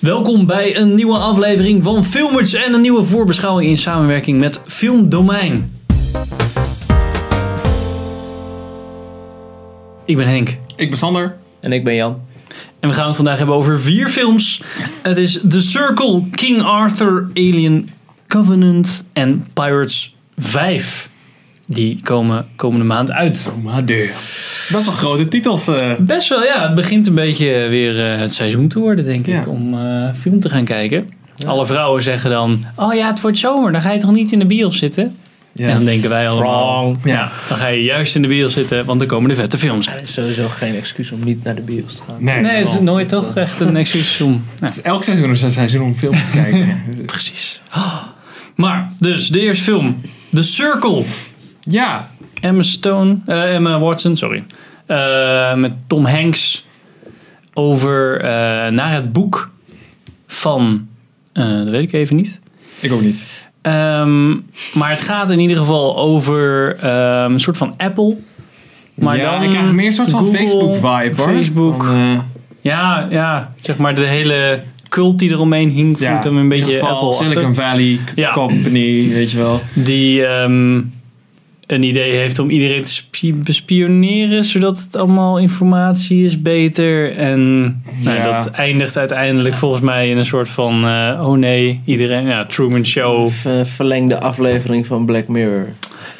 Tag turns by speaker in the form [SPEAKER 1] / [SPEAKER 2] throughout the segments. [SPEAKER 1] Welkom bij een nieuwe aflevering van Filmers en een nieuwe voorbeschouwing in samenwerking met Filmdomein. Ik ben Henk
[SPEAKER 2] Ik ben Sander.
[SPEAKER 3] En ik ben Jan.
[SPEAKER 1] en we gaan het vandaag hebben over vier films. Het is The Circle, King Arthur, Alien Covenant en Pirates 5. Die komen komende maand uit.
[SPEAKER 2] Maar de. Best wel grote titels. eh.
[SPEAKER 1] Best wel, ja. Het begint een beetje weer eh, het seizoen te worden, denk
[SPEAKER 2] Ja.
[SPEAKER 1] ik, om eh, film te gaan kijken. Alle vrouwen zeggen dan, oh ja, het wordt zomer, dan ga je toch niet in de bios zitten? En dan denken wij allemaal,
[SPEAKER 3] Wrong.
[SPEAKER 1] ja, dan ga je juist in de bios zitten, want dan komen de vette films
[SPEAKER 3] Het
[SPEAKER 1] uit.
[SPEAKER 3] is sowieso geen excuus om niet naar de bios te gaan.
[SPEAKER 2] Nee,
[SPEAKER 1] Nee, het is
[SPEAKER 2] wel.
[SPEAKER 1] nooit toch echt een excuus om... Nou,
[SPEAKER 2] Het is elk seizoen is een seizoen om film te kijken.
[SPEAKER 1] precies. Ah. Maar, dus, de eerste film, The Circle.
[SPEAKER 2] ja,
[SPEAKER 1] Emma Stone, eh, Emma Watson, sorry. Eh, met Tom Hanks over eh, naar het boek van, eh, dat weet ik even niet.
[SPEAKER 2] ik ook niet.
[SPEAKER 1] Ehm, maar het gaat in ieder geval over ehm, een soort van Apple. Maar
[SPEAKER 2] ja,
[SPEAKER 1] dan
[SPEAKER 2] ik krijg meer een soort van
[SPEAKER 1] Google,
[SPEAKER 2] Facebook-vibe hoor.
[SPEAKER 1] Facebook.
[SPEAKER 2] Van, eh,
[SPEAKER 1] Ja, ja, zeg maar de hele cult die eromheen hing, voelt
[SPEAKER 2] ja,
[SPEAKER 1] hem een
[SPEAKER 2] in
[SPEAKER 1] beetje
[SPEAKER 2] ieder geval
[SPEAKER 1] Apple.
[SPEAKER 2] Silicon Valley c-
[SPEAKER 1] Ja.
[SPEAKER 2] Company, weet je wel.
[SPEAKER 1] Die ehm, een idee heeft om iedereen te spie- bespioneren, zodat het allemaal informatie is beter. En nou,
[SPEAKER 2] Ja.
[SPEAKER 1] dat eindigt uiteindelijk volgens mij in een soort van, eh, oh nee, iedereen, ja, Truman Show.
[SPEAKER 3] Ver- verlengde aflevering van Black Mirror.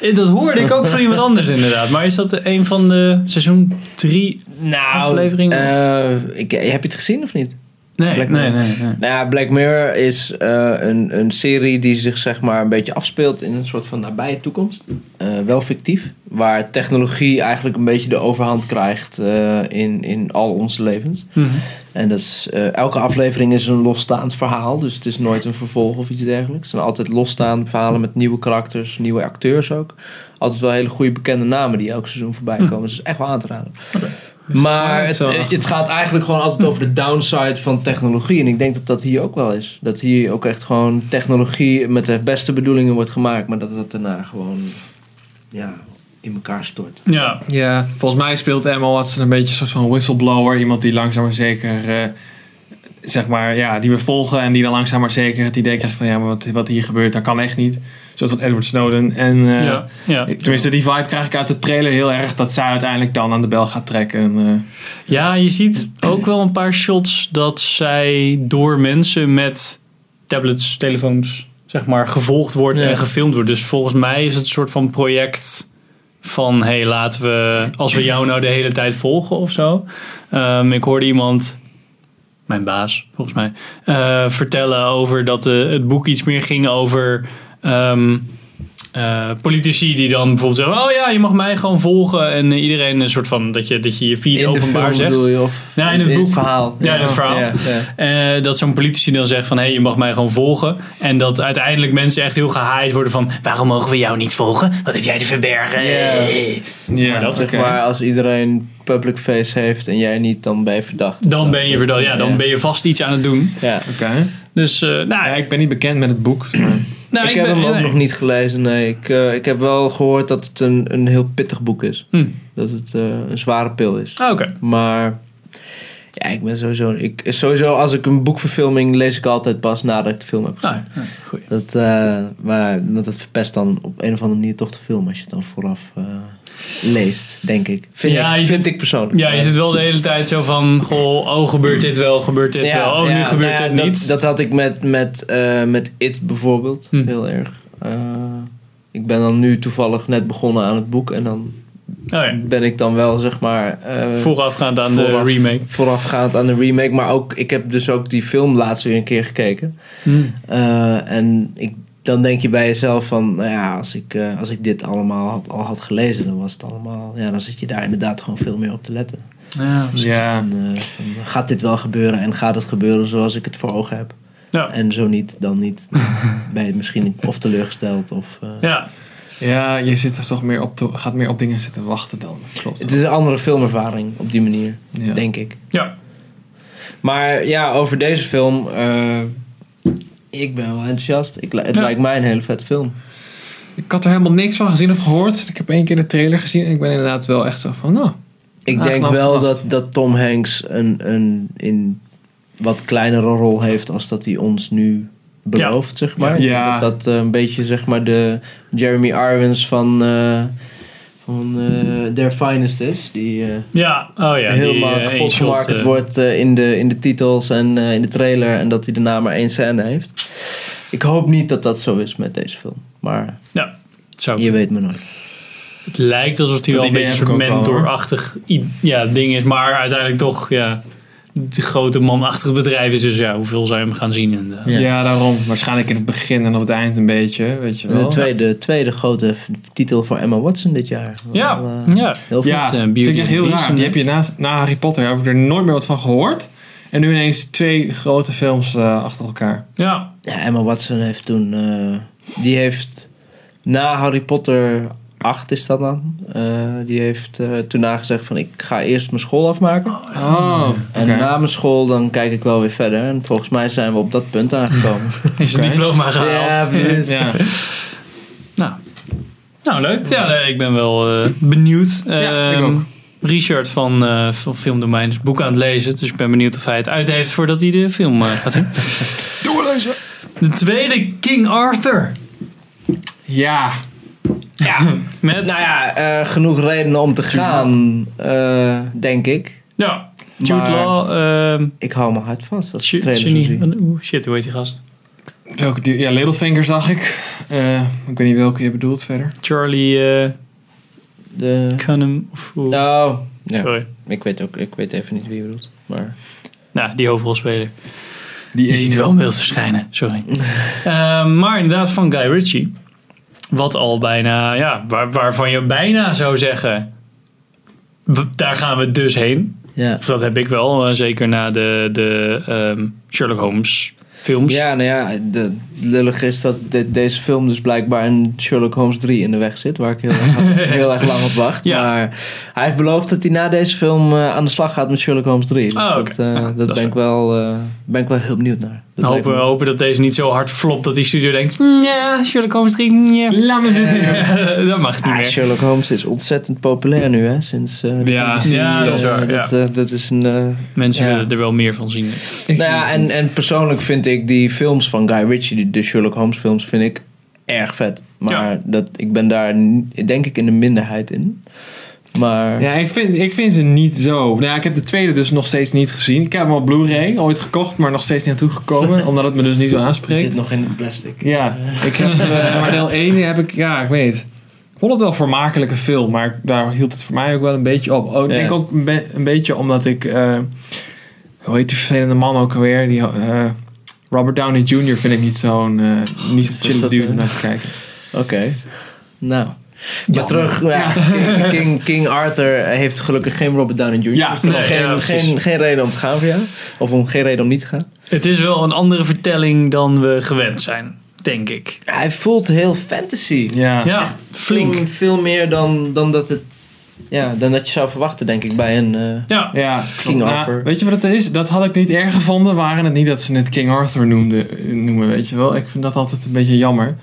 [SPEAKER 1] Eh, Dat hoorde ik ook van iemand anders inderdaad. Maar is dat een van de seizoen 3
[SPEAKER 3] Nou,
[SPEAKER 1] Aflevering of-
[SPEAKER 3] eh, ik, heb je het gezien of niet?
[SPEAKER 1] Nee,
[SPEAKER 3] Black
[SPEAKER 1] nee,
[SPEAKER 3] Mirror.
[SPEAKER 1] nee, nee.
[SPEAKER 3] Nou ja, Black Mirror is eh, een, een serie die zich zeg maar een beetje afspeelt in een soort van nabije toekomst. Eh, wel fictief. Waar technologie eigenlijk een beetje de overhand krijgt eh, in, in al onze levens.
[SPEAKER 1] Mhm.
[SPEAKER 3] En dat is, eh, elke aflevering is een losstaand verhaal. Dus het is nooit een vervolg of iets dergelijks. Het zijn altijd losstaande verhalen met nieuwe karakters, nieuwe acteurs ook. Altijd wel hele goede bekende namen die elk seizoen voorbij komen. Dus het is echt wel aan te raden. Maar
[SPEAKER 1] Twilight
[SPEAKER 3] het,
[SPEAKER 1] Zone.
[SPEAKER 3] eh, het gaat eigenlijk gewoon altijd over de downside van technologie. En ik denk dat dat hier ook wel is. Dat hier ook echt gewoon technologie met de beste bedoelingen wordt gemaakt. Maar dat dat daarna gewoon ja, in elkaar stort.
[SPEAKER 1] Ja,
[SPEAKER 2] Ja, volgens mij speelt Emma Watson een beetje een soort van whistleblower. Iemand die langzaam maar zeker, eh, zeg maar, ja, die we volgen en die dan langzaam maar zeker het idee krijgt van ja, maar wat, wat hier gebeurt, dat kan echt niet. Zoals van Edward Snowden. En, eh,
[SPEAKER 1] ja, ja.
[SPEAKER 2] Tenminste, die vibe krijg ik uit de trailer heel erg dat zij uiteindelijk dan aan de bel gaat trekken. En, eh,
[SPEAKER 1] Ja, je ziet ook wel een paar shots dat zij door mensen met tablets, telefoons, zeg maar, gevolgd wordt
[SPEAKER 3] Ja.
[SPEAKER 1] en gefilmd wordt. Dus volgens mij is het een soort van project van, hé, hey, laten we, als we jou nou de hele tijd volgen of zo. Ehm, ik hoorde iemand, mijn baas volgens mij, eh, vertellen over dat de, het boek iets meer ging over... ehm, eh, politici die dan bijvoorbeeld zeggen: Oh ja, je mag mij gewoon volgen. En eh, iedereen een soort van dat je dat je, je feed openbaar zegt.
[SPEAKER 3] bedoel je? Of
[SPEAKER 1] Ja, in het boek.
[SPEAKER 3] verhaal.
[SPEAKER 1] Ja, in het verhaal.
[SPEAKER 3] ja.
[SPEAKER 1] Eh, dat zo'n politici dan zegt van, hé, je mag mij gewoon volgen. En dat uiteindelijk mensen echt heel gehaaid worden van, waarom mogen we jou niet volgen? Wat heb jij te verbergen?
[SPEAKER 3] Ja.
[SPEAKER 2] ja,
[SPEAKER 1] dat
[SPEAKER 3] Zeg
[SPEAKER 2] oké.
[SPEAKER 3] maar, als iedereen public face heeft en jij niet, dan ben je verdacht.
[SPEAKER 1] Dan ben je verdacht, ja, dan
[SPEAKER 3] Ja.
[SPEAKER 1] ben je vast iets aan het doen.
[SPEAKER 3] Ja.
[SPEAKER 2] Oké.
[SPEAKER 1] Dus, eh, nou,
[SPEAKER 2] Ja,
[SPEAKER 1] nou, ik,
[SPEAKER 2] Ah, ik ben niet bekend met het boek. maar-
[SPEAKER 3] ik, heb
[SPEAKER 1] ben-
[SPEAKER 3] hem ook
[SPEAKER 1] nee.
[SPEAKER 3] nog niet gelezen, nee. Ik, eh, ik heb wel gehoord dat het een, een heel pittig boek is.
[SPEAKER 1] Hm.
[SPEAKER 3] Dat het eh, een zware pil is.
[SPEAKER 1] Ah, Oké,
[SPEAKER 3] Maar ja, ik ben sowieso... Ik, sowieso, als ik een boekverfilming lees ik altijd pas nadat ik de film heb gezien.
[SPEAKER 1] nou, nou, goeie.
[SPEAKER 3] Dat, eh, maar want dat verpest dan op een of andere manier toch de film als je het dan vooraf eh, leest, denk ik. Vind,
[SPEAKER 1] Ja, je-
[SPEAKER 3] ik, vind ik persoonlijk.
[SPEAKER 1] Ja, je zit wel de hele tijd zo van, goh, oh, gebeurt dit wel, gebeurt dit wel, oh, nu
[SPEAKER 3] ja,
[SPEAKER 1] gebeurt
[SPEAKER 3] nou ja,
[SPEAKER 1] dit
[SPEAKER 3] dat-
[SPEAKER 1] niet.
[SPEAKER 3] Dat, had ik met, met, eh, met It bijvoorbeeld
[SPEAKER 1] Hm.
[SPEAKER 3] heel erg. Eh, ik ben dan nu toevallig net begonnen aan het boek en dan
[SPEAKER 1] Oh ja,
[SPEAKER 3] ben ik dan wel zeg maar. eh,
[SPEAKER 1] voorafgaand aan
[SPEAKER 3] vooraf-
[SPEAKER 1] de remake.
[SPEAKER 3] Voorafgaand aan de remake, maar ook ik heb dus ook die film laatst weer een keer gekeken.
[SPEAKER 1] Hm.
[SPEAKER 3] Eh, en ik, dan denk je bij jezelf van, nou ja, als ik, eh, als ik dit allemaal had, al had gelezen, dan was het allemaal. Ja, dan zit je daar inderdaad gewoon veel meer op te letten.
[SPEAKER 1] Ja,
[SPEAKER 2] Ja.
[SPEAKER 3] En, eh, van, gaat dit wel gebeuren en gaat het gebeuren zoals ik het voor ogen heb?
[SPEAKER 1] Ja.
[SPEAKER 3] En zo niet, dan niet. ben je misschien of teleurgesteld of... eh,
[SPEAKER 1] ja.
[SPEAKER 2] ja, je zit er toch meer op te, gaat meer op dingen zitten wachten dan. Klopt.
[SPEAKER 3] Het is een andere filmervaring op die manier,
[SPEAKER 2] Ja.
[SPEAKER 3] denk ik.
[SPEAKER 1] ja.
[SPEAKER 3] Maar ja, over deze film... eh, ik ben wel enthousiast. Ik, li- het
[SPEAKER 1] Ja.
[SPEAKER 3] lijkt mij een hele vette film.
[SPEAKER 2] Ik had er helemaal niks van gezien of gehoord. Ik heb één keer de trailer gezien en ik ben inderdaad wel echt zo van, nou,
[SPEAKER 3] Ik
[SPEAKER 2] Aangenaam
[SPEAKER 3] denk wel
[SPEAKER 2] verrast.
[SPEAKER 3] dat, dat Tom Hanks een, een in wat kleinere rol heeft als dat hij ons nu belooft, zeg maar.
[SPEAKER 2] Ja.
[SPEAKER 3] Dat dat eh, een beetje, zeg maar, de Jeremy Irons van, eh van eh, Their Finest is. Die eh,
[SPEAKER 1] Ja, oh ja.
[SPEAKER 3] helemaal
[SPEAKER 1] eh,
[SPEAKER 3] kapot
[SPEAKER 1] één-shot,
[SPEAKER 3] gemarket
[SPEAKER 1] eh,
[SPEAKER 3] wordt eh, in, de, in de titels en eh, in de trailer. En dat hij daarna maar één scène heeft. Ik hoop niet dat dat zo is met deze film. Maar
[SPEAKER 1] Ja, zo.
[SPEAKER 3] je weet me nooit.
[SPEAKER 1] Het lijkt alsof hij
[SPEAKER 2] Dat
[SPEAKER 1] wel een
[SPEAKER 2] idee
[SPEAKER 1] beetje een soort
[SPEAKER 2] heb ik ook wel, hoor.
[SPEAKER 1] mentorachtig i- ja, ding is. Maar uiteindelijk toch, ja, het grote manachtige bedrijf is. Dus ja, hoeveel zou je hem gaan zien? En,
[SPEAKER 3] Ja.
[SPEAKER 2] Ja. daarom. Waarschijnlijk in het begin en op het eind een beetje, weet je wel.
[SPEAKER 3] De tweede, tweede grote f- titel voor Emma Watson dit jaar.
[SPEAKER 1] ja,
[SPEAKER 3] Wel, eh,
[SPEAKER 1] ja.
[SPEAKER 3] Heel
[SPEAKER 2] Ja,
[SPEAKER 1] eh,
[SPEAKER 2] vind
[SPEAKER 1] Beauty
[SPEAKER 2] ik echt
[SPEAKER 1] and the
[SPEAKER 2] heel
[SPEAKER 1] Beast
[SPEAKER 2] raar.
[SPEAKER 1] en-
[SPEAKER 2] Die heb je na, na Harry Potter heb ik er nooit meer wat van gehoord. En nu ineens twee grote films eh, achter elkaar.
[SPEAKER 1] ja.
[SPEAKER 3] Ja, Emma Watson heeft toen. eh, die heeft na Harry Potter 8 is dat dan. eh, die heeft eh, toen nagezegd van ik ga eerst mijn school afmaken.
[SPEAKER 2] Oh,
[SPEAKER 3] En na mijn school dan kijk ik wel weer verder. En volgens mij zijn we op dat punt aangekomen.
[SPEAKER 1] Is
[SPEAKER 2] Oké.
[SPEAKER 1] een diploma gehaald.
[SPEAKER 3] ja, precies.
[SPEAKER 2] Ja.
[SPEAKER 1] Nou. nou, leuk. Ja, nee, ik ben wel eh, benieuwd.
[SPEAKER 2] Ja, ik
[SPEAKER 1] Ehm,
[SPEAKER 2] ook.
[SPEAKER 1] Richard van, eh van Filmdomein is het boek aan het lezen. Dus ik ben benieuwd of hij het uit heeft voordat hij de film eh, gaat zien.
[SPEAKER 2] Doorlezen!
[SPEAKER 1] De tweede King Arthur.
[SPEAKER 2] Ja.
[SPEAKER 1] Met,
[SPEAKER 3] Nou ja, eh, genoeg redenen om te gaan, eh, denk ik.
[SPEAKER 1] ja, Jude
[SPEAKER 3] Maar-
[SPEAKER 1] Law. ehm,
[SPEAKER 3] Ik hou mijn hart vast. Dat is de
[SPEAKER 1] Ju-
[SPEAKER 3] trailer
[SPEAKER 1] Junie-
[SPEAKER 3] zo zie.
[SPEAKER 1] Oeh, shit, hoe heet die gast?
[SPEAKER 2] Welke, die- ja, Littlefinger zag ik. Eh, ik weet niet welke je bedoelt verder.
[SPEAKER 1] Charlie eh,
[SPEAKER 3] De...
[SPEAKER 1] Cunnum. Of hoe?
[SPEAKER 3] Nou, ja.
[SPEAKER 1] Sorry.
[SPEAKER 3] ik, weet ook, ik weet even niet wie je bedoelt. Maar...
[SPEAKER 1] Nou, die hoofdrolspeler. Je
[SPEAKER 2] ene.
[SPEAKER 1] ziet wel beeld verschijnen, sorry. Eh, maar inderdaad, van Guy Ritchie. Wat al bijna, ja, waar, waarvan je bijna zou zeggen... w- Daar gaan we dus heen.
[SPEAKER 3] Ja.
[SPEAKER 1] Of dat heb ik wel, eh, zeker na de, de ehm, Sherlock Holmes films.
[SPEAKER 3] Ja, nou ja, de lullig is dat de- deze film dus blijkbaar in Sherlock Holmes 3 in de weg zit, waar ik heel, erg- heel erg lang op wacht.
[SPEAKER 1] Ja.
[SPEAKER 3] Maar hij heeft beloofd dat hij na deze film eh, aan de slag gaat met Sherlock Holmes 3. Dus
[SPEAKER 1] Ah, oké.
[SPEAKER 3] dat, eh,
[SPEAKER 1] Ah,
[SPEAKER 3] dat,
[SPEAKER 1] dat is
[SPEAKER 3] ben, ik wel, eh, ben ik wel heel benieuwd naar. Dat lijkt
[SPEAKER 1] Hopen,
[SPEAKER 3] me-
[SPEAKER 1] hopen dat deze niet zo hard flopt dat die studio denkt... "Mm, Ja, Sherlock Holmes 3, mm, ja."
[SPEAKER 2] Laat me zitten.
[SPEAKER 1] dat mag niet
[SPEAKER 3] Ah,
[SPEAKER 1] meer.
[SPEAKER 3] Sherlock Holmes is ontzettend populair nu, hè? Sinds. eh,
[SPEAKER 2] Ja.
[SPEAKER 3] BBC,
[SPEAKER 1] Ja, dat is
[SPEAKER 3] eh,
[SPEAKER 1] waar,
[SPEAKER 3] dat, eh, dat is een. eh,
[SPEAKER 1] Mensen
[SPEAKER 3] Ja.
[SPEAKER 1] willen er wel meer van zien.
[SPEAKER 3] Nou ja, en, en persoonlijk vind ik die films van Guy Ritchie, die- de Sherlock Holmes films, vind ik erg vet. Maar dat, ik ben daar n- denk ik in de minderheid in. Maar
[SPEAKER 2] Ja, ik vind, ik vind ze niet zo. Nou ja, ik heb de tweede dus nog steeds niet gezien. Ik heb hem op Blu-ray ooit gekocht, maar nog steeds niet naartoe gekomen. omdat het me dus niet zo aanspreekt.
[SPEAKER 3] nog in het plastic.
[SPEAKER 2] Ja, ik heb, eh, maar deel 1 heb ik, ja, ik weet niet. Ik vond het wel een vermakelijke film, maar ik- daar hield het voor mij ook wel een beetje op. Oh, ik
[SPEAKER 3] Ja.
[SPEAKER 2] denk ook een, be- een beetje omdat ik, eh, hoe heet die vervelende man ook alweer? Die, eh, Robert Downey Jr. vind ik niet zo'n, eh, niet zo'n
[SPEAKER 3] Is
[SPEAKER 2] chille
[SPEAKER 3] dat,
[SPEAKER 2] dude
[SPEAKER 3] eh?
[SPEAKER 2] om naar te kijken.
[SPEAKER 3] Oké. Nou.
[SPEAKER 1] Jammer.
[SPEAKER 3] Maar terug, ja, King- King, King Arthur heeft gelukkig geen Robert Downey Jr.
[SPEAKER 2] Ja,
[SPEAKER 3] dus dat is
[SPEAKER 1] nee,
[SPEAKER 3] geen,
[SPEAKER 1] ja, precies.
[SPEAKER 3] geen, geen reden om te gaan voor jou. Of om geen reden om niet te gaan.
[SPEAKER 1] Het is wel een andere vertelling dan we gewend zijn, denk ik.
[SPEAKER 3] Hij voelt heel fantasy.
[SPEAKER 2] Ja, ja.
[SPEAKER 1] Ja, flink.
[SPEAKER 3] Veel, veel meer dan, dan, dat het, ja, dan dat je zou verwachten, denk ik, bij een... eh,
[SPEAKER 1] Ja,
[SPEAKER 3] King
[SPEAKER 2] Nou,
[SPEAKER 3] Arthur.
[SPEAKER 2] weet je wat het is? Dat had ik niet erg gevonden, waren het niet dat ze het King Arthur noemden, noemen, weet je wel. Ik vind dat altijd een beetje jammer.